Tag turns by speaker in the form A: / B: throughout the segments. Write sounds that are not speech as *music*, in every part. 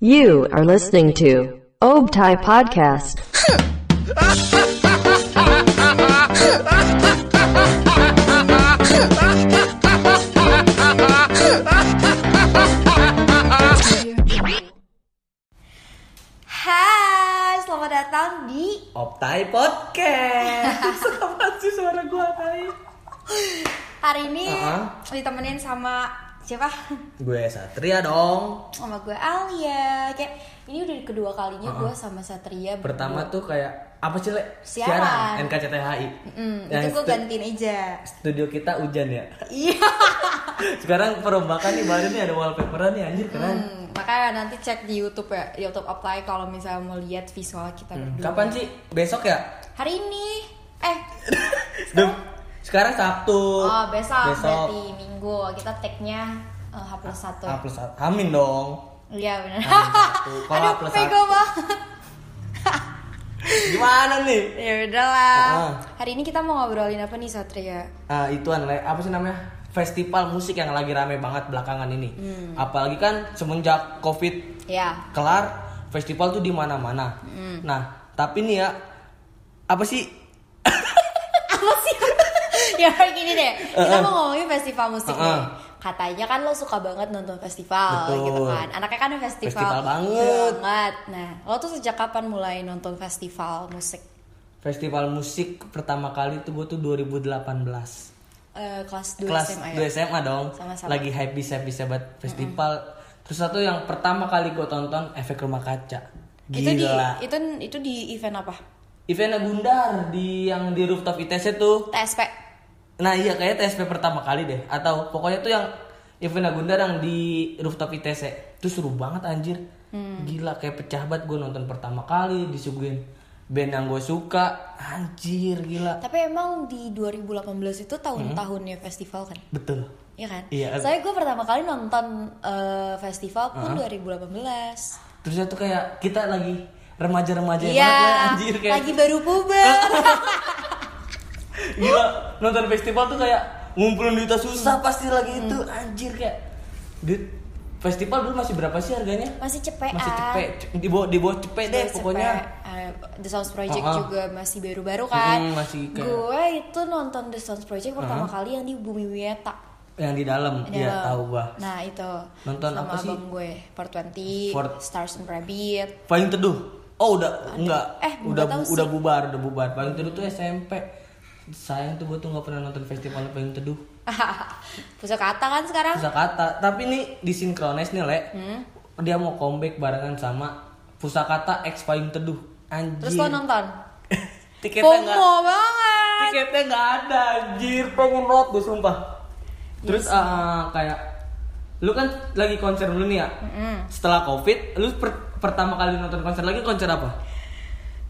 A: You are listening to Obtai Podcast.
B: Hai, selamat datang di *laughs*
C: Optai Podcast. Sama sih suara gue kali.
B: hari ini
C: Ah.
B: ditemenin sama siapa?
C: Gue Satria dong.
B: Sama gue Alia. Kayak ini udah kedua kalinya gue sama Satria. berdua.
C: Pertama tuh kayak apa sih le?
B: Siaran.
C: NKCTHI.
B: Hmm,
C: Yang
B: itu gue
C: stu-
B: gantiin aja.
C: Studio kita hujan ya. *laughs*
B: Iya.
C: Sekarang perombakan nih baru nih ada wallpaperan nih anjir keren.
B: Hmm, makanya nanti cek di YouTube ya, YouTube apply kalau misalnya mau lihat visual kita berdua.
C: Kapan sih? Besok ya?
B: Hari ini eh
C: Duh. Sekarang Sabtu.
B: oh besok,
C: Besok.
B: berarti Minggu kita tag-nya eh, H plus satu.
C: Ah, plus satu. Hamin dong.
B: Iya benar. *laughs*
C: H satu. Kalau H
B: Aduh,
C: plus
B: bego
C: satu.
B: banget.
C: Gimana nih?
B: Ya udahlah.
C: Ah.
B: Hari ini kita mau ngobrolin apa nih Satria?
C: Ah, ituan Le. apa sih namanya festival musik yang lagi rame banget belakangan ini
B: Hmm.
C: apalagi kan semenjak covid
B: Ya, *laughs*
C: kelar festival tuh di mana mana
B: Hmm.
C: nah tapi nih ya apa sih
B: apa sih? ya kayak gini deh. Kita
C: Uh-uh.
B: mau ngomongin festival musik
C: Uh-uh.
B: nih. Katanya kan lo suka banget nonton festival
C: Betul.
B: gitu kan. Anaknya kan festival.
C: Festival banget.
B: banget. Nah, lo tuh sejak kapan mulai nonton festival musik?
C: festival musik pertama kali tuh gue tuh 2018
B: Eh, kelas 2
C: kelas
B: SMA.
C: 2 SMA dong
B: Sama-sama.
C: lagi happy happy sahabat festival terus satu yang pertama kali gue tonton efek rumah kaca
B: Itu di
C: gila
B: itu itu di event apa?
C: eventnya Gundar di yang di rooftop ITC tuh
B: TSP.
C: Nah iya kayaknya TSP pertama kali deh Atau pokoknya tuh yang Event Agundar yang di rooftop ITC Itu seru banget anjir
B: Hmm.
C: Gila kayak pecah banget gue nonton pertama kali Disuguhin band yang gue suka Anjir gila
B: Tapi emang di 2018 itu tahun-tahunnya festival kan?
C: Betul
B: Iya kan?
C: Hmm. Iya.
B: Soalnya gue pertama kali nonton eh, festival pun 2018.
C: Terus itu kayak kita lagi remaja-remaja
B: Iya,
C: banget ya, anjir kayak
B: lagi baru
C: *laughs*
B: puber.
C: Gila nonton festival tuh kayak ngumpulin duitnya susah pasti lagi itu
B: Hmm.
C: Anjir kayak Duit festival dulu masih berapa sih harganya?
B: Masih cepean.
C: Masih cepet, di bawah, di bawah cepet deh
B: Masih
C: pokoknya
B: Eh, cepet. Iya, Eh, The Sounds Project
C: Uh-uh.
B: juga masih baru-baru kan.
C: Mm, masih kayak-
B: Gue itu nonton The Sounds Project pertama kali yang di Bumi Wieta.
C: yang di dalam
B: Di
C: iya
B: dalam.
C: tahu gua
B: Nah, itu.
C: Nonton
B: Sama
C: apa sih?
B: abang gue, Part 20,
C: Fort-
B: Stars and Rabbit. *laughs*
C: paling teduh oh udah enggak
B: Eh, nggak
C: udah
B: tahu
C: bu-
B: sih.
C: udah bubar udah bubar paling teduh tuh SMP sayang tuh gua tuh nggak pernah nonton festival paling teduh
B: Pusaka kata kan sekarang?
C: pusaka kata tapi ini disinkronis nih le
B: Hmm.
C: dia mau comeback barengan sama pusaka kata X paling teduh anjir
B: Terus lo nonton?
C: tiketnya nggak
B: FOMO banget.
C: tiketnya nggak ada anjir pengen banget gue sumpah
B: Iya
C: terus ah, kayak lu kan lagi konser dulu nih ya setelah covid lu per- pertama kali nonton konser lagi konser apa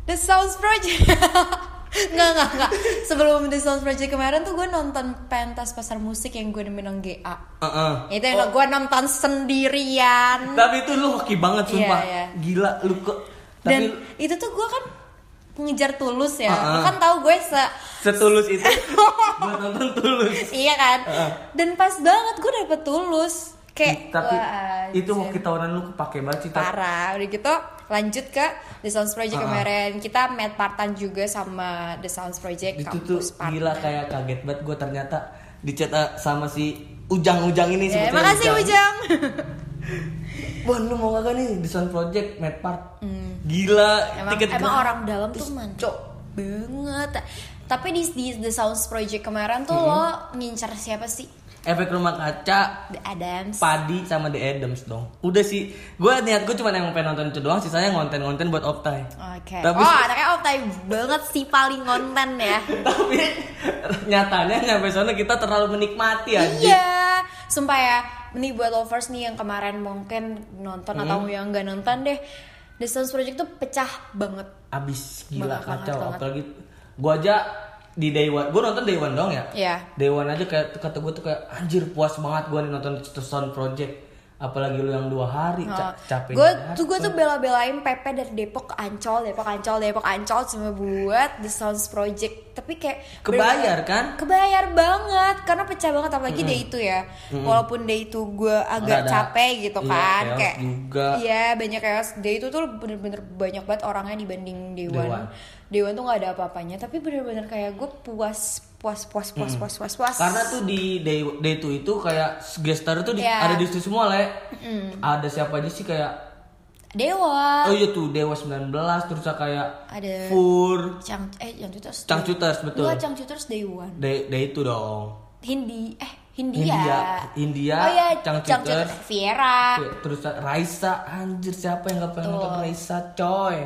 B: The Sounds Project *laughs* Nggak, nggak, nggak Sebelum The Sounds Project kemarin tuh gue nonton pentas pasar musik yang gue nemenin orang GA
C: Heeh.
B: Itu
C: Oh.
B: yang gue nonton sendirian
C: tapi itu lu hoki banget sumpah
B: Iya,
C: gila lu kok
B: Dan
C: tapi
B: itu tuh gue kan pengejar tulus ya
C: Uh-uh.
B: Lo kan tahu gue se...
C: setulus
B: *laughs*
C: itu gua nonton tulus
B: Iya kan?
C: Uh-uh.
B: Dan pas banget gue dapet tulus Kayak,
C: tapi
B: wah,
C: itu
B: anjir.
C: hoki tawaran lu kepake banget sih tapi
B: parah udah gitu lanjut ke The Sounds Project
C: Ah.
B: kemarin kita met partan juga sama The Sounds Project
C: itu tuh
B: kampus partner.
C: gila kayak kaget banget gue ternyata dicat eh, sama si ujang-ujang ini
B: Ya,
C: sebetulnya
B: makasih Ujang.
C: Bon, lu mau gak nih di Sound Project, Mad Park? Gila,
B: Hmm. emang
C: *laughs* tiket
B: emang
C: gratis.
B: orang dalam tuh mancok banget. Tapi di, di The Sounds Project kemarin tuh
C: Mm-hmm.
B: lo ngincer siapa sih?
C: Efek rumah kaca,
B: The Adams.
C: Padi sama The Adams dong. Udah sih, gue niat gue cuma emang pengen nonton itu doang, sisanya konten-konten buat Optai.
B: Oke.
C: Tapi-
B: oh, anaknya optai banget sih paling konten ya.
C: Tapi nyatanya nyampe sana kita terlalu menikmati aja.
B: Iya, sumpah ya. Ini buat lovers nih yang kemarin mungkin nonton atau
C: Hmm.
B: yang nggak nonton deh. The Sounds Project tuh pecah banget.
C: Abis gila
B: Banget,
C: kacau,
B: banget,
C: apalagi gue aja di Day One, gue nonton Day One dong ya.
B: Iya.
C: Day One aja kayak kata gue tuh kayak anjir puas banget gue nih nonton The Sound Project. apalagi lu yang dua hari ca-
B: gue
C: capek banget.
B: Oh. tuh gue tuh bela-belain Pepe dari Depok ke Ancol, Depok Ancol, Depok Ancol cuma buat The Sounds Project. Tapi kayak
C: kebayar kan
B: kebayar banget karena pecah banget apalagi day itu ya. Walaupun day itu gue agak
C: Rada-
B: capek gitu
C: iya,
B: kan,
C: chaos
B: kayak
C: juga.
B: iya banyak chaos. Day itu tuh bener-bener banyak banget orangnya dibanding Day One.
C: One.
B: Day One tuh nggak ada apa-apanya, tapi bener-bener kayak gue puas puas puas puas puas puas puas.
C: Mm. karena tuh di day, day two itu kayak gestar tuh di-
B: Iya.
C: ada di situ semua le ada siapa aja sih kayak
B: Dewa
C: oh iya tuh dewa 19 terus kayak
B: ada
C: fur
B: Chang eh yang itu terus
C: cangcuters iya. betul
B: Enggak, Changcuters Day One.
C: day, day itu dong
B: Hindi eh Hindia.
C: Hindia. Hindia,
B: Oh iya,
C: Changcuters.
B: Changcuters, Viera.
C: Oke, Iya, terus Raisa anjir siapa yang gak pengen
B: Betul.
C: nonton Raisa coy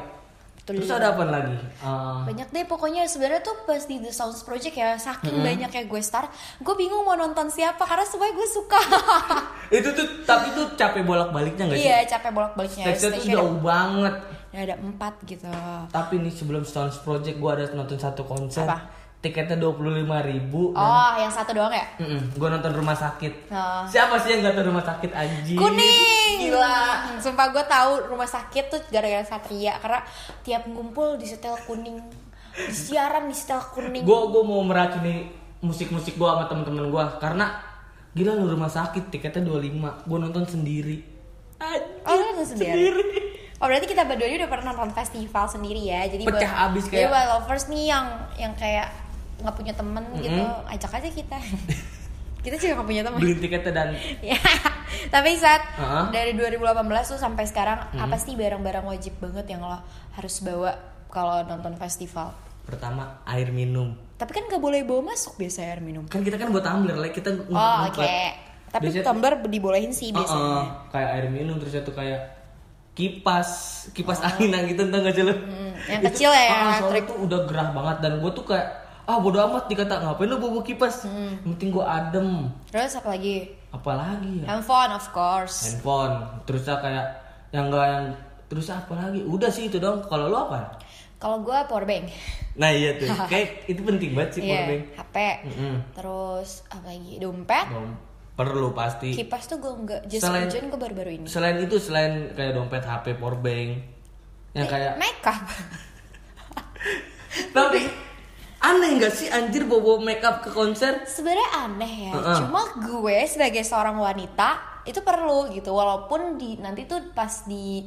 B: Betul.
C: terus ada apa lagi Eh,
B: Banyak deh pokoknya sebenarnya tuh pas di The Sounds Project ya saking banyaknya gue star, gue bingung mau nonton siapa karena semuanya gue suka.
C: itu tuh tapi tuh capek bolak baliknya gak sih
B: iya, capek bolak-baliknya.
C: Stage-nya tuh
B: Stage-nya
C: jauh banget
B: ada, ada empat gitu.
C: tapi nih sebelum Stones Project gue ada nonton satu konser
B: Apa?
C: tiketnya dua puluh ribu
B: Oh, yang satu doang ya?
C: gue nonton rumah sakit
B: Oh.
C: siapa sih yang gak nonton rumah sakit anjir
B: Kuning. Gila. Sumpah gue tahu rumah sakit tuh gara-gara Satria karena tiap ngumpul di setel kuning. Di siaran di setel kuning.
C: gue gue mau meracuni musik-musik gue sama temen-temen gue karena gila lu rumah sakit tiketnya 25 gue nonton sendiri Anjir,
B: Oh, lu nonton sendiri? Oh berarti kita berdua ini udah pernah nonton festival sendiri ya jadi
C: Pecah
B: buat-
C: abis
B: jadi
C: kayak-
B: buat lovers nih yang yang kayak nggak punya temen gitu ajak aja
C: *laughs*
B: kita kita juga nggak punya temen
C: beli tiketnya dan
B: *laughs* ya tapi saat
C: Heeh.
B: dari 2018 tuh sampai sekarang apa sih barang-barang wajib banget yang lo harus bawa kalau nonton festival
C: pertama air minum
B: tapi kan nggak boleh bawa masuk biasanya air minum
C: kan kita kan buat tumbler lah kita ngumpet-
B: oh oke
C: ngumpet.
B: tapi
C: Biasanya-
B: tumbler dibolehin sih
C: Uh-uh,
B: biasanya
C: kayak air minum terus itu kayak kipas kipas anginan gitu entah nggak sih lo?
B: Oh. yang kecil ya, yang
C: Ah, soalnya
B: elektrik.
C: tuh udah gerah banget dan gue tuh kayak ah bodo amat dikata ngapain lo bawa kipas
B: Hmm.
C: Yang penting gue adem
B: terus apa lagi
C: apalagi ya
B: handphone of course
C: Iya. handphone terus ya kayak yang enggak yang terus apa lagi udah sih itu dong kalau lo apa
B: Kalau gue powerbank,
C: nah
B: *laughs*
C: iya tuh kayak itu penting banget sih
B: Iya,
C: powerbank
B: HP,
C: Mm-mm.
B: terus apa lagi? Dompet,
C: Dong, perlu pasti
B: kipas tuh gue enggak. Just
C: Selain-
B: hujan gue baru-baru ini.
C: selain itu selain kayak dompet HP powerbank
B: Eh,
C: yang kayak
B: Makeup,
C: *laughs*
B: *laughs*
C: Tapi aneh nggak sih anjir bobo make up ke konser?
B: sebenarnya aneh ya.
C: Mm-mm.
B: Cuma gue sebagai seorang wanita itu perlu gitu. Walaupun di nanti tuh pas di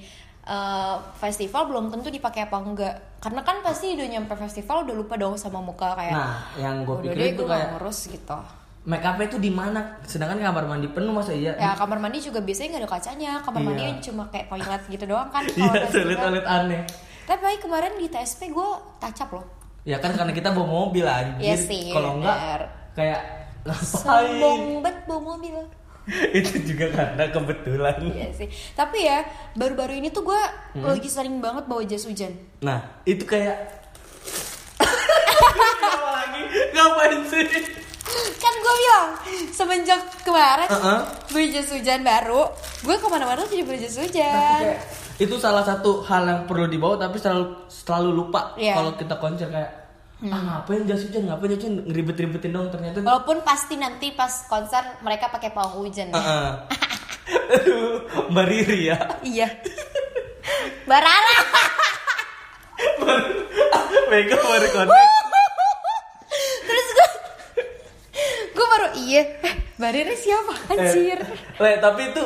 B: eh, festival belum tentu dipakai apa enggak. Karena kan pasti udah nyampe festival udah lupa dong sama muka kayak.
C: Nah, yang gue
B: udah Eh, deh
C: pikirin
B: gue
C: tuh
B: nggak
C: kayak
B: ngurus gitu.
C: make upnya tuh di mana? Sedangkan kamar mandi penuh masa iya?
B: Ya kamar mandi juga biasanya nggak ada kacanya. Kamar
C: Iya.
B: mandinya cuma kayak toilet gitu doang kan. kalau
C: *laughs* Iya,
B: festival.
C: sulit-sulit aneh.
B: Tapi kemarin di TSP gue tacap loh.
C: Ya kan karena kita bawa mobil anjir.
B: Iya sih, bener.
C: Kalau enggak kayak ngapain?
B: Sombong banget bawa mobil.
C: *laughs* Itu juga karena kebetulan.
B: Iya sih. Tapi ya baru-baru ini tuh gue
C: Hmm.
B: lagi sering banget bawa jas hujan. *gasps*
C: Nah, itu kayak *laughs* Kenapa lagi? Ngapain sih?
B: Kan gue bilang semenjak kemarin
C: Uh-uh.
B: beli jas hujan baru, gue kemana-mana tuh beli jas
C: Nah, iya.
B: hujan.
C: itu salah satu hal yang perlu dibawa tapi selalu selalu lupa
B: Iya. Hmm.
C: kalau kita konser kayak ah ngapain jas hujan ngapain jas hujan ngeribet-ribetin dong ternyata
B: Walaupun pasti nanti pas konser mereka pakai pawang hujan. ya.
C: *laughs* Heeh. Aduh, Mbak Riri ya *laughs*
B: Iya. *laughs* Barara. *laughs*
C: Mega baru konser
B: Terus gue gue baru iya. eh, Barara siapa
C: Eh,
B: anjir?
C: Le, tapi itu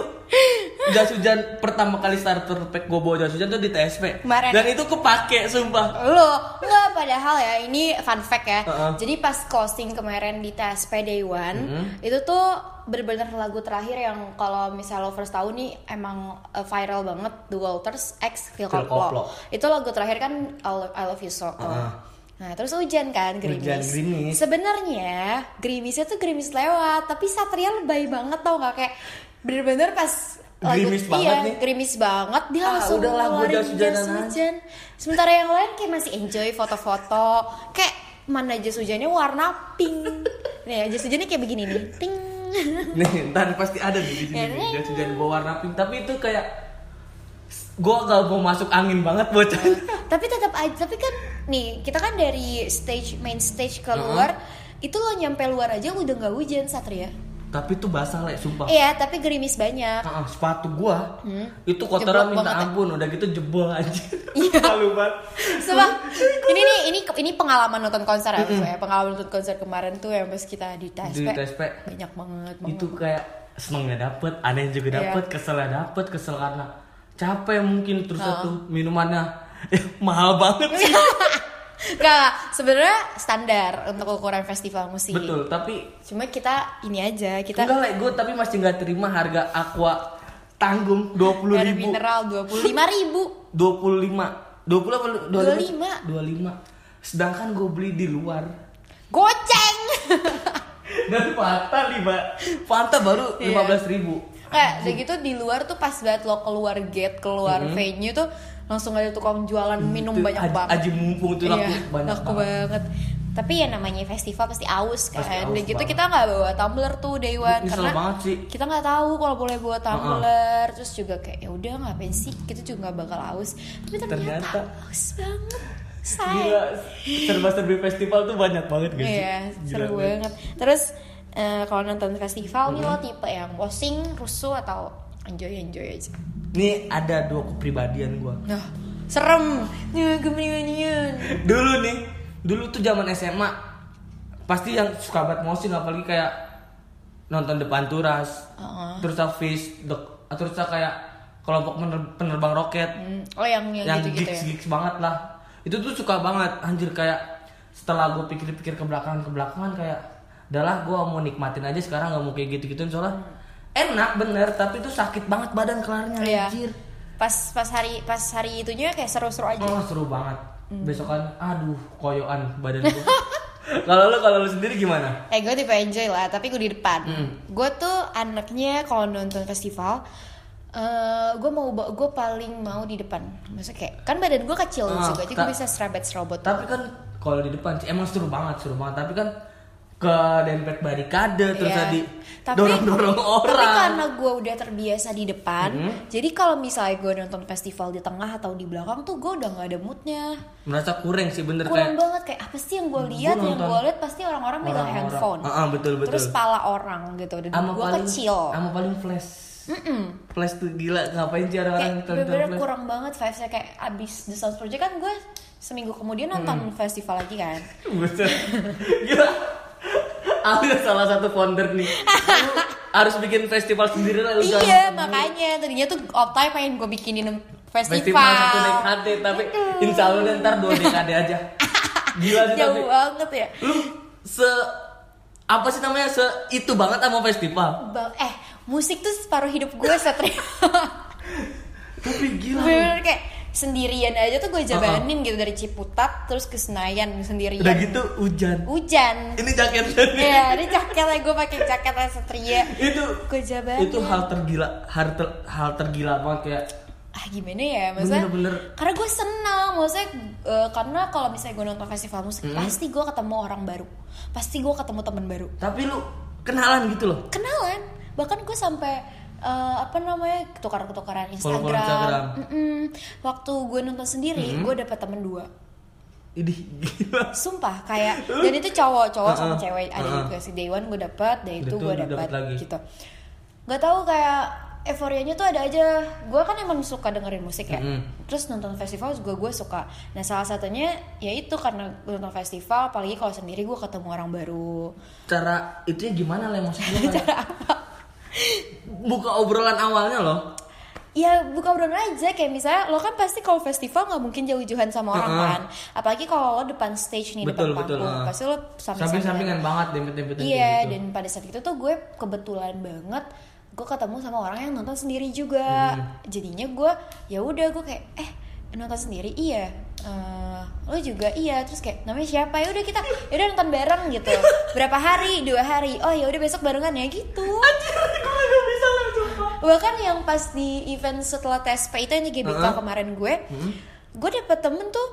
C: jas hujan pertama kali starter pack gue bawa jas hujan tuh di TSP
B: Kemarin.
C: dan itu kepake sumpah
B: lo nggak padahal ya ini fun fact ya
C: Heeh.
B: jadi pas closing kemarin di TSP Day One
C: Mm-hmm.
B: itu tuh bener-bener lagu terakhir yang kalau misal lovers tahu nih emang eh, viral banget The Walters X Phil
C: Phil Koplo.
B: Koplo itu lagu terakhir kan I Love, I Love You So tuh.
C: Heeh.
B: Nah terus hujan kan gerimis.
C: Hujan, gerimis.
B: Sebenarnya gerimisnya tuh gerimis lewat, tapi Satria lebay banget tau gak kayak bener-bener pas iya,
C: Gerimis banget nih.
B: gerimis banget dia
C: Ah,
B: langsung
C: udahlah, gua
B: ngeluarin
C: jas-hujanan
B: jas
C: aja.
B: hujan. Sementara yang lain kayak masih enjoy foto-foto. Kayak mana jas hujannya warna
C: *laughs*
B: pink. Nih jas hujannya kayak begini nih. Ting. *laughs*
C: Nih, ntar pasti ada nih di sini.
B: Ya,
C: nih,
B: neng.
C: Jas hujan gua warna pink, tapi itu kayak gua gak mau masuk angin banget bocah.
B: tapi tetap aja tapi kan nih kita kan dari stage main stage keluar itu lo nyampe luar aja udah nggak hujan satria
C: tapi tuh basah lek sumpah
B: Iya, tapi gerimis banyak.
C: Ah, ah, sepatu gua itu kotoran
B: Hmm. Jeblok banget
C: minta
B: ya. Iya.
C: ampun udah gitu jebol anjir *laughs* malu banget *laughs*
B: Sebab ini nih ini ini pengalaman nonton konser ya, gue ya. Pengalaman nonton konser kemarin tuh yang pas kita di
C: di
B: TSP
C: TSP
B: banyak banget. banget.
C: itu kayak senengnya dapet aneh
B: Iya.
C: juga dapet keselnya dapet kesel karena capek mungkin terus satu minumannya *laughs* eh, mahal banget sih
B: *laughs* Nggak, sebenarnya standar untuk ukuran festival musik.
C: betul tapi
B: Cuma kita ini aja, kita
C: enggak lek gue tapi masih nggak terima harga aqua tanggung dua puluh
B: dari
C: ribu
B: mineral 25 ribu.
C: dua puluh lima dua puluh apa dua
B: 25?
C: dua lima sedangkan gue beli di luar
B: Goceng. *laughs*
C: dan Fanta lima Fanta baru
B: Iya.
C: lima belas ribu
B: Kayak udah gitu di luar tuh pas banget lo keluar gate, keluar
C: Hmm.
B: venue tuh langsung ada tukang jualan minum
C: Itu
B: banyak
C: aji-
B: banget.
C: aji mumpung tuh laku
B: Iya,
C: banyak
B: laku
C: banget.
B: banget. Tapi ya namanya festival pasti aus kan.
C: Pasti aus
B: Udah gitu
C: banget.
B: kita nggak bawa tumbler tuh day one
C: Nyesel
B: karena
C: banget sih.
B: kita nggak tahu kalau boleh bawa tumbler. Terus juga kayak ya udah ngapain sih? Kita juga nggak bakal aus. Tapi ternyata,
C: Ternyata.
B: aus banget. Say.
C: Gila, serba-serbi festival tuh banyak banget guys.
B: Iya, seru banget. Terus eh, kalau nonton festival nih lo tipe yang posing, rusuh atau enjoy enjoy aja.
C: Nih ada dua kepribadian gua.
B: Nah, serem. Nih, gemenian.
C: Dulu nih, dulu tuh zaman SMA pasti yang suka banget mosin apalagi kayak nonton depan turas, terus habis dek, terus kayak kelompok pener- penerbang roket
B: Hmm, Oh, yang yang,
C: yang
B: gitu-gitu
C: gigs
B: ya.
C: gigs banget lah. Itu tuh suka banget anjir kayak setelah gue pikir-pikir ke belakangan ke belakangan kayak adalah gue mau nikmatin aja sekarang nggak mau kayak gitu-gituin soalnya enak bener tapi tuh sakit banget badan
B: Hmm.
C: kelarnya
B: Iya.
C: anjir.
B: Pas pas hari pas hari itunya kayak seru-seru aja.
C: Oh seru banget.
B: Hmm.
C: Besokan aduh koyoan badan gue. *laughs* kalau lu kalau lu sendiri gimana?
B: Eh gue tipe enjoy lah, tapi gue di depan.
C: Hmm.
B: Gue tuh anaknya kalau nonton festival, eh gue mau gue paling mau di depan. Maksudnya kayak kan badan gue kecil
C: Ah,
B: juga, jadi gue
C: ta-
B: bisa serabet serobot. gitu
C: Tapi kan kalau di depan sih, emang seru banget, seru banget. Tapi kan ke dempet barikade terus
B: Iya.
C: tadi
B: Tapi-
C: dorong-dorong orang. Hmm.
B: Tapi karena gue udah terbiasa di depan, jadi kalau misalnya gue nonton festival di tengah atau di belakang tuh gue udah nggak ada moodnya.
C: Merasa kurang sih bener
B: Kurang
C: kayak
B: banget kayak apa sih yang gue lihat, yang
C: nonton
B: gue lihat pasti orang-orang megang
C: orang-orang.
B: handphone.
C: Ah, ah, betul betul.
B: Terus pala orang gitu dan
C: Ama
B: gue kecil.
C: Sama paling flash. Flash tuh gila ngapain sih orang-orang
B: Kayak
C: nonton
B: bener-bener
C: flash?
B: kurang banget vibes kayak abis The Sound Project kan gue seminggu kemudian
C: Hmm.
B: nonton festival lagi kan.
C: *laughs* Buset. Gila. Aku salah satu founder nih. Lu harus bikin festival sendiri lah lu jangan-
B: Iya makanya tadinya tuh off time pengen gue bikinin festival.
C: Festival satu dekade tapi insya Allah deh, ntar dua dekade
B: *laughs*
C: aja. Gila sih tapi.
B: Jauh banget ya.
C: Lu se apa sih namanya se itu banget sama festival.
B: Bang, eh musik tuh separuh hidup gue
C: *laughs*
B: satria
C: Tapi gila. lu.
B: bener kayak sendirian aja
C: Ah,
B: tuh gue jabanin gitu dari Ciputat terus ke Senayan sendirian
C: Udah gitu hujan.
B: hujan
C: Ini jaketnya nih.
B: ya ini jaketnya gue pakai jaket satria
C: *laughs* Itu
B: gue jabanin
C: itu hal tergila hal, ter- hal tergila banget kayak
B: ah gimana ya maksudnya
C: Bener-bener.
B: karena gue senang maksudnya eh, karena kalau misalnya gue nonton festival musik
C: Hmm.
B: pasti gue ketemu orang baru pasti gue ketemu temen baru
C: tapi lu kenalan gitu loh.
B: kenalan bahkan gue sampai eh, apa namanya tukar-tukaran Instagram,
C: Follow-follow Instagram. Hmm.
B: Mm-mm. waktu gue nonton sendiri gue dapet temen dua
C: Ini gila.
B: sumpah
C: *laughs*
B: kayak dan itu cowok cowok sama
C: Uh-uh.
B: cewek ada
C: Uh-uh.
B: juga sih day one gue dapet day itu
C: Day two
B: gue
C: lu
B: dapet,
C: dapet lagi.
B: gitu nggak tahu kayak euforianya tuh ada aja gue kan emang suka dengerin musik ya
C: Mm-mm.
B: terus nonton festival juga gue suka nah salah satunya yaitu karena gua nonton festival apalagi kalau sendiri gue ketemu orang baru *laughs*
C: Cara itunya gimana lah maksudnya? Cara apa? Buka obrolan awalnya loh.
B: Ya buka obrolan aja kayak misalnya lo kan pasti kalau festival nggak mungkin jauh-jauhan sama orang
C: Heeh.
B: kan. Apalagi kalau lo depan stage nih
C: betul
B: depan
C: betul.
B: panggung
C: ah.
B: pasti lo samping-sampingan.
C: Samping-sampingan banget dempet-dempetan kayak
B: Iya
C: gitu.
B: dan pada saat itu tuh gue kebetulan banget gue ketemu sama orang yang nonton sendiri juga.
C: Hmm.
B: Jadinya gue ya udah gue kayak eh nonton sendiri iya. Eh, lo juga iya terus kayak namanya siapa ya udah kita ya udah nonton bareng
C: *laughs*
B: gitu berapa hari dua hari oh ya udah besok barengan ya
C: *laughs*
B: gitu bahkan yang pas di event setelah TSP itu yang di GBK
C: Heeh. Hmm.
B: kemarin gue gue dapet temen tuh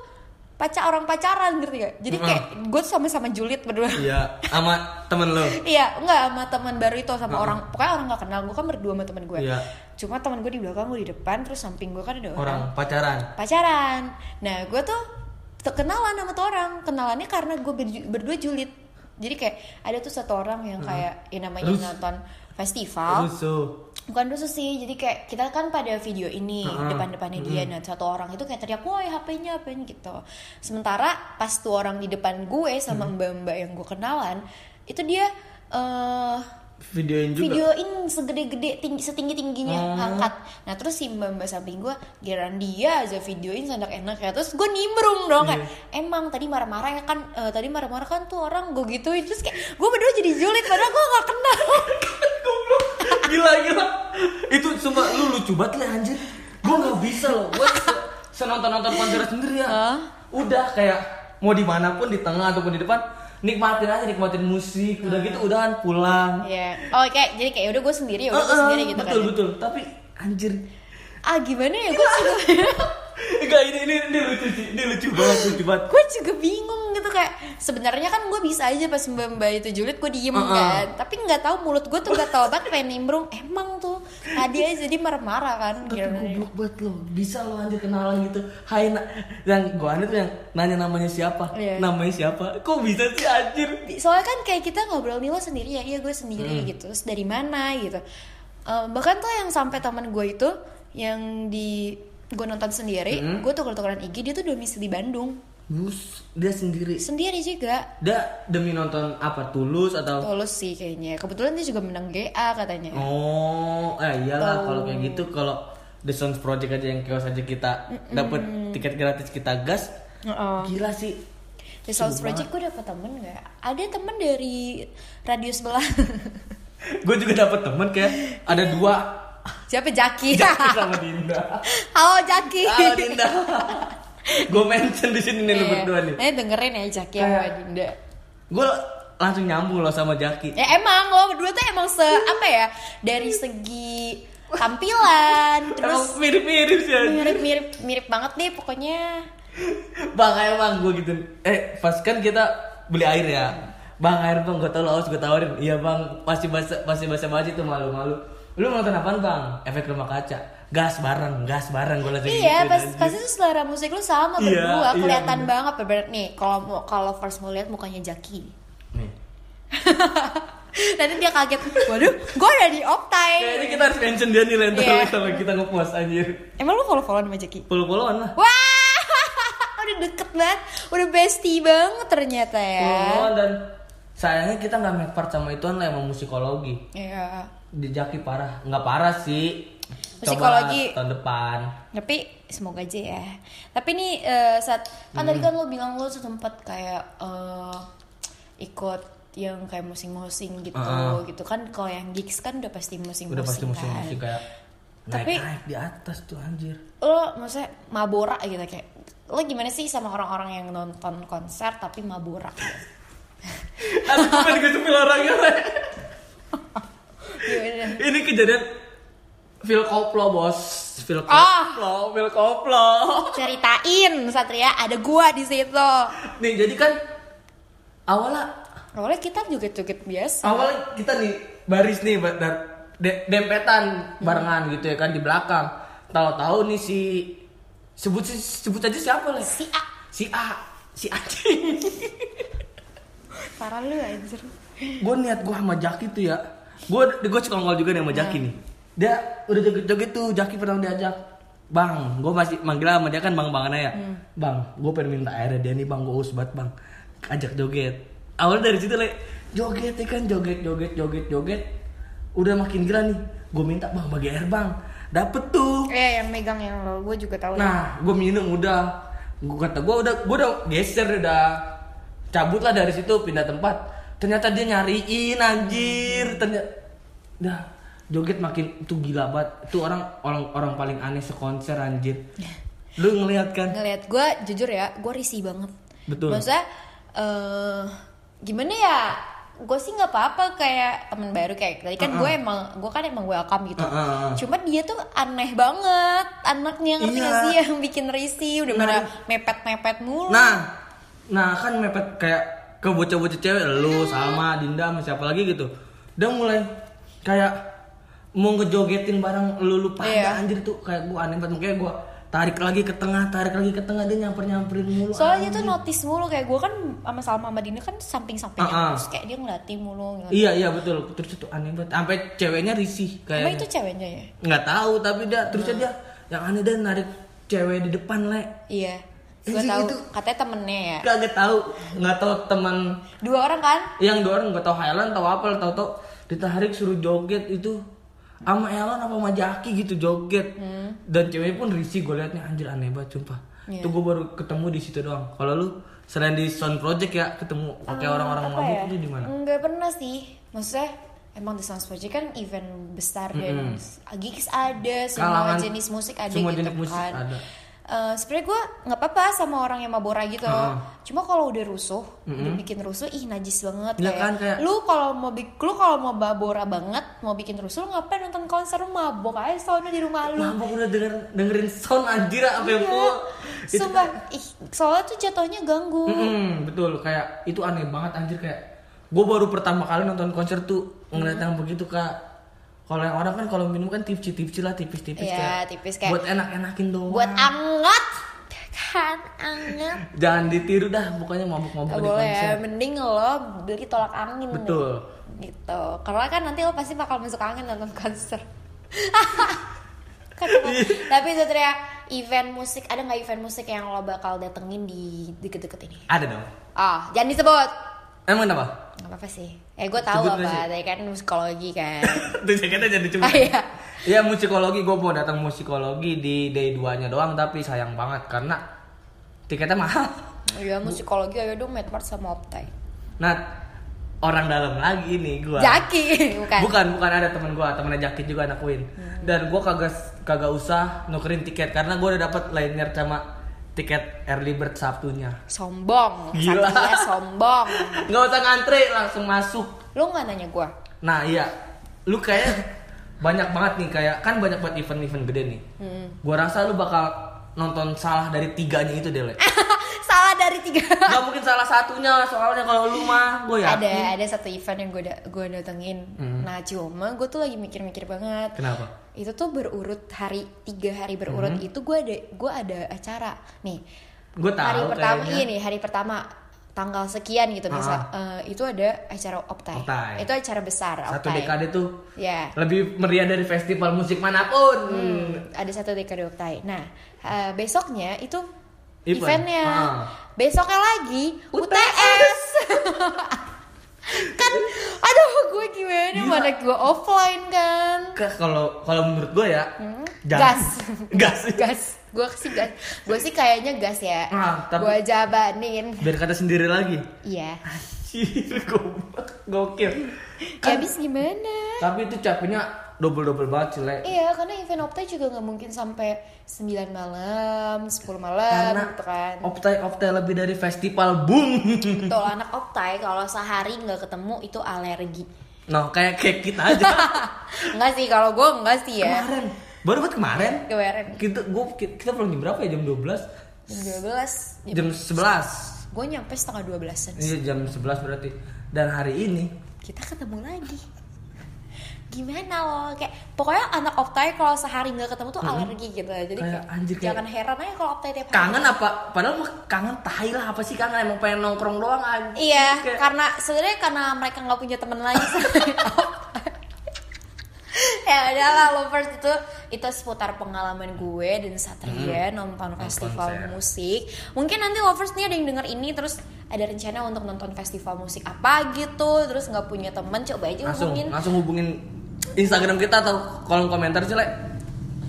B: pacar orang pacaran ngerti gak jadi kayak gue tuh sama-sama julid berdua
C: Iya, sama temen lo.
B: Iya, enggak sama teman baru itu sama orang pokoknya orang nggak kenal gue kan berdua sama teman gue.
C: Iya.
B: Cuma teman gue di belakang gue di depan terus samping gue kan ada orang,
C: Orang pacaran.
B: pacaran. Nah gue tuh te- kenalan sama tuh orang kenalannya karena gue berdua julid. jadi kayak ada tuh satu orang yang kayak yang namanya
C: Terus?
B: nonton festival
C: Rusuh.
B: bukan rusuh sih jadi kayak kita kan pada video ini
C: Heeh.
B: depan-depannya dia nah satu orang itu kayak teriak woi HP-nya apa gitu sementara pas tuh orang di depan gue sama mbak-mbak yang gue kenalan itu dia eh
C: Videoin juga.
B: videoin segede-gede tinggi setinggi tingginya
C: Hmm.
B: angkat nah terus si mbak mbak samping gue giliran dia aja videoin seenak enak ya terus gue nimbrung dong kan
C: Iya.
B: emang tadi marah-marah ya kan eh, tadi marah-marah kan tuh orang gue gituin terus kayak gue berdua jadi julid padahal gue gak kenal
C: *laughs* Goblok. *laughs* gila gila itu sumpah lu lucu banget lah anjir gue nggak bisa loh gue senonton nonton konser sendiri ya
B: Hah?
C: udah kayak mau dimanapun di tengah ataupun di depan nikmatin aja nikmatin musik udah gitu udahan pulang
B: ya oh kayak jadi kayak udah gue sendiri ya udah gue
C: Eh, eh,
B: sendiri gitu
C: betul
B: kan
C: betul tapi anjir
B: ah gimana ya gue juga
C: *laughs*
B: *laughs*
C: enggak ini ini ini lucu sih ini lucu banget lucu banget
B: gue juga bingung gitu kayak sebenarnya kan gue bisa aja pas mbak mbak itu julid gue diem
C: Uh-uh.
B: kan tapi nggak tahu mulut gue tuh nggak tahu banget pengen nimbrung emang tuh tadi aja jadi marah-marah kan
C: tapi
B: Gila.
C: goblok banget lo bisa lo anjir kenalan gitu hai na yang gue aneh tuh yang nanya namanya siapa
B: Iya.
C: namanya siapa kok bisa sih anjir
B: soalnya kan kayak kita ngobrol nih lo sendiri ya iya gue
C: Hmm.
B: sendiri gitu terus dari mana gitu Eh, bahkan tuh yang sampai teman gue itu yang di gue nonton sendiri
C: Hmm.
B: gue tuh tukeran IG dia tuh domisili Bandung
C: Bus, dia sendiri
B: sendiri juga
C: Dia demi nonton apa tulus atau
B: Tulus sih kayaknya. Kebetulan dia juga menang GA katanya.
C: oh eh iyalah
B: Tahu.
C: kalau kayak gitu kalau The Sounds Project aja yang kios aja kita dapat tiket gratis kita gas
B: Heeh.
C: gila sih
B: The Souls Project gue dapet temen gak? Ada temen dari radio sebelah. *laughs*
C: gue juga dapat temen kayak ada dua
B: Siapa Jaki? *laughs*
C: Jaki sama Dinda
B: Halo Jaki.
C: halo
B: *laughs*
C: Dinda gue mention di sini nih lu
B: Iya.
C: berdua nih
B: Eh dengerin ya Jaki sama Dinda.
C: gue langsung nyambung loh sama Jaki
B: Ya emang lo berdua tuh emang se apa ya? Dari segi tampilan terus
C: *laughs*
B: Iya.
C: Emang mirip-mirip sih anjir.
B: mirip-mirip mirip banget deh pokoknya.
C: Bang air bang gue gitu Eh pas kan kita beli air ya Bang air bang gue tau lo haus gue tawarin Iya bang pasti basa pasti basa basi tuh malu-malu Lu nonton apaan bang? Efek rumah kaca Gas bareng gas bareng gue langsung
B: Iya,
C: gituin
B: pas,
C: anjir.
B: pasti tuh selera musik lu sama
C: gitu, Iya,
B: berdua,
C: iya,
B: kelihatan
C: bener.
B: banget bener nih. Kalau mau- kalau first mau lihat mukanya Jaki.
C: Nih
B: *laughs* Nanti dia kaget, waduh, gue ada di Optai.
C: Kayaknya kita harus mention dia nih lain
B: Iya.
C: kali kalau kita ngepost anjir
B: Emang lu follow-followan sama Jaki?
C: Follow-followan lah
B: Wah, *laughs* udah deket banget, udah bestie banget ternyata ya.
C: Follow-followan Oh, dan Sayangnya kita gak make part sama ituan lah emang musikologi
B: Iya.
C: Di Jaki parah Nggak parah sih
B: Musikologi.
C: Coba tahun depan
B: Tapi semoga aja ya. Tapi nih eh, saat kan tadi
C: Hmm.
B: kan lo bilang lo sempat kayak eh, ikut yang kayak musing-musing gitu
C: Ah.
B: gitu kan kalau yang gigs kan udah pasti musing-musing
C: Udah pasti
B: kan.
C: musik-musik kayak
B: Tapi-
C: naik-naik di atas tuh anjir. *laughs*
B: lo maksudnya mabora gitu kayak lo gimana sih sama orang-orang yang nonton konser tapi mabora
C: Aduh, gue pengen kecupil orangnya. Le.
B: Gimana?
C: Ini kejadian Phil Koplo, Bos. Phil Koplo,
B: Ah.
C: Phil Koplo.
B: ceritain Satria ada gua di situ
C: Nih, jadi kan awalnya
B: awalnya kita juga joget biasa
C: awalnya kita nih baris nih ba- dar- de- dempetan barengan gitu ya kan di belakang. Tahu-tahu nih si sebut sebut aja siapa lah?
B: si A
C: Si A, si Acing.
B: parah lu anjir
C: gue niat gue sama Jaki tuh ya gue gue suka ngol juga nih sama Jaki nih dia udah joget-joget tuh Jaki pernah diajak bang gue masih manggil sama dia kan bang bang ya bang gue pengen minta airnya dia nih bang gue haus banget bang ajak joget awalnya dari situ le joget ya kan joget joget joget joget udah makin gila nih gue minta bang bagi air bang dapet tuh
B: Iya yang megang yang lo gua juga tahu ya?
C: Nah, gue minum udah. Gue kata gue udah, gue udah geser udah cabut lah dari situ pindah tempat. Ternyata dia nyariin anjir. Ternyata, dah joget makin itu gila banget. Itu orang orang orang paling aneh sekonser anjir. Lu ngeliat kan?
B: ngelihat gue jujur ya gue risih banget
C: Betul.
B: maksudnya eh, gimana ya gue sih nggak apa-apa kayak temen baru kayak tadi kan gue emang gue kan emang welcome gitu
C: Uh-uh, uh-uh.
B: cuma dia tuh aneh banget anaknya ngerti nggak
C: Iya.
B: sih *laughs* yang bikin risih udah
C: Nah.
B: pada mepet-mepet mulu
C: Nah, nah kan mepet kayak ke bocah-bocah cewek lu sama Dinda sama siapa lagi gitu. Udah mulai kayak mau ngejogetin bareng lu lu pada
B: Iya.
C: anjir tuh kayak gua aneh banget kayak gua tarik lagi ke tengah tarik lagi ke tengah dia nyamper nyamperin mulu
B: Soalnya dia tuh notice mulu kayak gue kan sama Salma sama Dini kan samping-sampingnya
C: Ah, ah.
B: terus kayak dia ngeliatin mulu ngeliatin.
C: iya iya betul terus itu aneh banget sampai ceweknya risih
B: Emang
C: kayak
B: itu ceweknya ya?
C: nggak tahu tapi dia terusnya dia yang aneh dia narik cewek di depan le
B: Iya. Gue
C: Anjing,
B: tahu
C: itu-
B: katanya temennya ya.
C: kagak tahu nggak tahu teman
B: Dua orang kan?
C: yang dua orang gak tau Highland tau apa tau tau ditarik suruh joget itu sama Elon apa sama Jaki gitu joget dan ceweknya pun risih gue liatnya anjir aneh banget sumpah itu gue baru ketemu di situ doang kalau lu selain di sound project ya ketemu pakai orang-orang mabuk itu di mana
B: Enggak ya? pernah sih. Maksudnya emang The Sounds Project kan event besar dan gigs ada, semua
C: Kalangan-
B: jenis musik ada
C: semua
B: gitu
C: jenis musik
B: kan.
C: ada.
B: Eh, sebenarnya gue nggak apa-apa sama orang yang mabora gitu.
C: Ah.
B: Cuma kalau udah rusuh, udah bikin rusuh, ih najis banget ya.
C: Iya kan, kayak-
B: Lu kalau mau bik, lu kalau mau mabora banget, mau bikin rusuh, lu ngapain nonton konser Lu mabok aja soalnya di rumah lu.
C: mabuk udah denger, dengerin sound anjir apa yang
B: Iya.
C: full Itu kan.
B: Sumpah, ih, soalnya tuh jatuhnya ganggu.
C: Mm-mm, betul kayak itu aneh banget anjir kayak gue baru pertama kali nonton konser tuh ngeliat yang begitu kak kalau yang orang kan kalau minum kan tipsi-tipsi lah tipis-tipis
B: Iya,
C: kayak,
B: tipis kayak-
C: buat enak-enakin doang
B: Buat anget, kan anget.
C: jangan ditiru dah pokoknya mabuk-mabuk
B: Gak
C: di
B: boleh
C: konser
B: ya, mending lo beli tolak angin
C: betul
B: gitu Karena kan nanti lo pasti bakal masuk angin nonton
C: *laughs*
B: konser Kan,
C: Iya.
B: Tapi itu Tria, event musik, ada gak event musik yang lo bakal datengin di deket-deket ini?
C: ada dong
B: Ah, jangan disebut
C: emang kenapa
B: Gak apa-apa sih Eh gue tahu
C: Sebut gak sih?
B: apa, tadi kan musikologi
C: *laughs*
B: kan
C: *laughs* tuh jaketnya jadi cuma
B: Ah iya
C: ya musikologi gue mau datang musikologi di day 2 nya doang tapi sayang banget karena tiketnya mahal
B: Iya musikologi ayo dong Medmart sama Optai
C: nah orang dalam lagi ini gue
B: Jaki, bukan?
C: Bukan, bukan ada teman gua, temennya Jakit juga anak Win.
B: Hmm.
C: Dan gua kagak kagak usah nukerin tiket karena gua udah dapat liner sama tiket early bird Sabtunya.
B: Sombong,
C: Gila.
B: Satria sombong
C: Nggak usah ngantri, langsung masuk.
B: Lo gak nanya gue?
C: Nah, iya. Lu kayak banyak banget nih kayak kan banyak banget event-event gede nih.
B: Hmm.
C: Gua rasa lu bakal nonton salah dari tiganya itu deh. Le.
B: *laughs* Salah dari tiga
C: Nggak mungkin salah satunya soalnya kalau lu mah gue yakin.
B: ada ada satu event yang gue gue datengin nah cuma gue tuh lagi mikir-mikir banget
C: Hmm. Kenapa? Hmm.
B: itu tuh berurut hari tiga hari berurut itu gue ada gue ada acara nih
C: Gue tahu
B: hari pertama
C: kayaknya.
B: iya nih hari pertama tanggal sekian gitu bisa itu ada acara optai
C: Optai.
B: itu acara besar
C: Satu
B: optai
C: dekade tuh
B: ya
C: lebih meriah dari festival musik manapun.
B: ada satu dekade optai nah eh, besoknya itu
C: Event.
B: eventnya
C: Ah.
B: besoknya lagi
C: UTS.
B: UTS *laughs* kan aduh gue gimana
C: Gila.
B: mana gue offline kan
C: Kak, kalau kalau menurut gue ya
B: Hmm? Gas.
C: *laughs* gas
B: gas gue sih gas gue sih kayaknya gas ya
C: Ah, tapi-
B: gue jabanin
C: biar kata sendiri lagi
B: iya
C: Anjir, goblok gokil
B: ya
C: Kan
B: habis gimana
C: tapi itu capeknya double double banget sih Le.
B: Iya, karena event Optai juga nggak mungkin sampai 9 malam, 10 malam
C: karena
B: gitu kan.
C: optai optai lebih dari festival boom *laughs*
B: Betul, anak Optai kalau sehari nggak ketemu itu alergi. *laughs*
C: nah kayak kayak kita aja
B: Enggak sih, kalau gue enggak sih ya.
C: kemarin baru buat kemarin
B: Kemarin
C: kita gua kita pulang jam berapa ya jam 12
B: jam 12
C: jam 11
B: gue nyampe setengah 12 an
C: iya jam 11 berarti dan hari ini
B: kita ketemu lagi gimana loh kayak pokoknya anak optai kalau sehari nggak ketemu tuh alergi gitu jadi
C: Mm-hmm. Kayak
B: kayak,
C: anjir, kayak-
B: jangan heran aja kalau optai tiap hari
C: kangen apa padahal mah kangen tai lah apa sih kangen emang pengen nongkrong doang anjir
B: iya
C: Kayak-
B: karena sebenarnya karena mereka nggak punya teman lagi selain Optai. *laughs* ya udahlah lovers itu itu seputar pengalaman gue dan Satria nonton festival
C: Hmm. konser.
B: musik mungkin nanti lovers nih ada yang denger ini terus ada rencana untuk nonton festival musik apa gitu terus nggak punya teman coba aja
C: langsung
B: hubungin
C: langsung hubungin Instagram kita atau kolom komentar sih Le.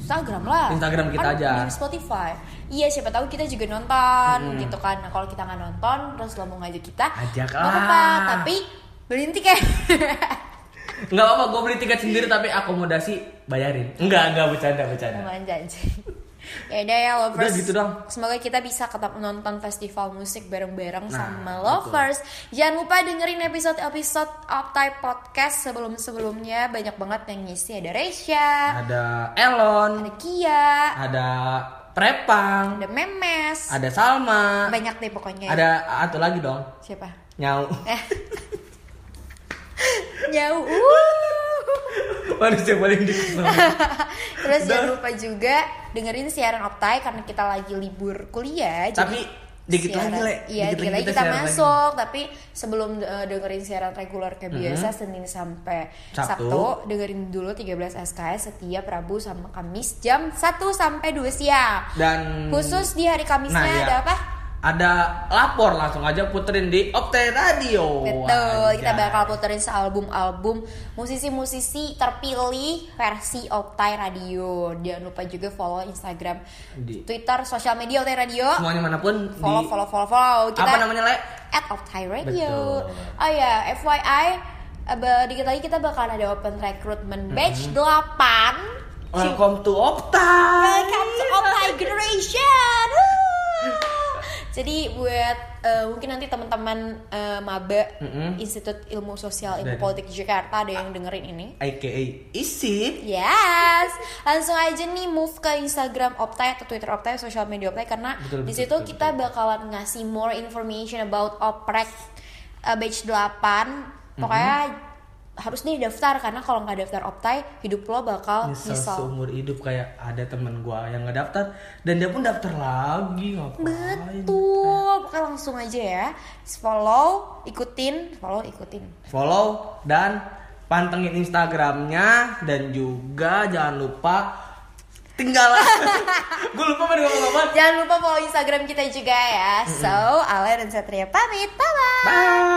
B: Instagram lah.
C: Instagram kita
B: Kan
C: aja.
B: Di Spotify. Iya siapa tahu kita juga nonton gitu kan. Nah, kalau kita nggak nonton terus lo mau ngajak kita,
C: Hmm. Ajak
B: nggak apa-apa.
C: lah.
B: Tapi beliin tiket. *laughs*
C: nggak apa-apa gue beli tiket sendiri tapi akomodasi bayarin enggak enggak bercanda bercanda
B: Lumayan janji. *laughs* ya udah ya lovers.
C: Udah gitu dong.
B: Semoga kita bisa ketemu nonton festival musik bareng-bareng
C: Nah,
B: sama
C: betul.
B: lovers. Jangan lupa dengerin episode-episode Optai Podcast sebelum-sebelumnya banyak banget yang ngisi ada Reisha,
C: ada Elon
B: ada Kia,
C: ada Prepang
B: ada Memes.
C: ada Salma
B: Banyak deh pokoknya.
C: ada satu lagi dong
B: siapa? *laughs*
C: nyau
B: Uh. Eh. Jauh.
C: *laughs* manusia paling *laughs* dikesel
B: *laughs* Terus jangan lupa juga dengerin siaran Optai karena kita lagi libur kuliah.
C: Tapi dikit lagi, Le.
B: Iya,
C: Dikit
B: dikit,
C: lagi
B: lagi
C: kita
B: kita,
C: siaran
B: masuk. Tapi sebelum eh, dengerin siaran reguler kayak biasa Senin sampai
C: Mm-hmm. Sabtu.
B: Sabtu. dengerin dulu 13 SKS setiap Rabu sama Kamis jam 1 sampai 2 siang.
C: dan
B: Khusus di hari Kamisnya
C: iya.
B: ada apa?
C: Ada lapor langsung aja puterin di Opte Radio.
B: Betul, kita
C: Anjay.
B: bakal puterin sealbum-album musisi-musisi terpilih versi Optai Radio. Jangan lupa juga follow Instagram,
C: Di-
B: Twitter, sosial media Optai Radio.
C: semuanya manapun
B: Follow,
C: di
B: follow, follow, follow. Kita
C: apa namanya le?
B: At Optai Radio.
C: Betul.
B: Oh ya, FYI, ab- eh, dikit lagi kita bakal ada open recruitment batch 8.
C: Welcome to Opta.
B: Welcome to Optai Generation. Woo! Jadi buat eh, mungkin nanti teman-teman eh, maba
C: Mm-mm.
B: Institut Ilmu Sosial Ilmu
C: Dan-
B: Politik Jakarta ada yang dengerin ini.
C: AKA Isit.
B: Yes, langsung aja nih move ke Instagram Optai atau Twitter Optai, sosial media Optai karena
C: Betul,
B: di
C: betul,
B: situ
C: betul,
B: kita bakalan ngasih more information about Oprek uh, batch 8. Pokoknya
C: Mhm.
B: harus nih daftar karena kalau nggak daftar Optai, hidup lo bakal
C: Nyesel
B: nyesel.
C: seumur hidup kayak ada temen gua yang nggak daftar dan dia pun daftar lagi ngapain?
B: Betul, pokoknya langsung aja ya. Follow, ikutin, follow, ikutin.
C: Follow dan pantengin Instagramnya dan juga jangan lupa
B: *laughs*
C: tinggalan. gua lupa pengen ngomong apa. Mhm.
B: Jangan lupa follow Instagram kita juga ya. So, Ale dan Satria pamit. Bye-bye.
C: Bye.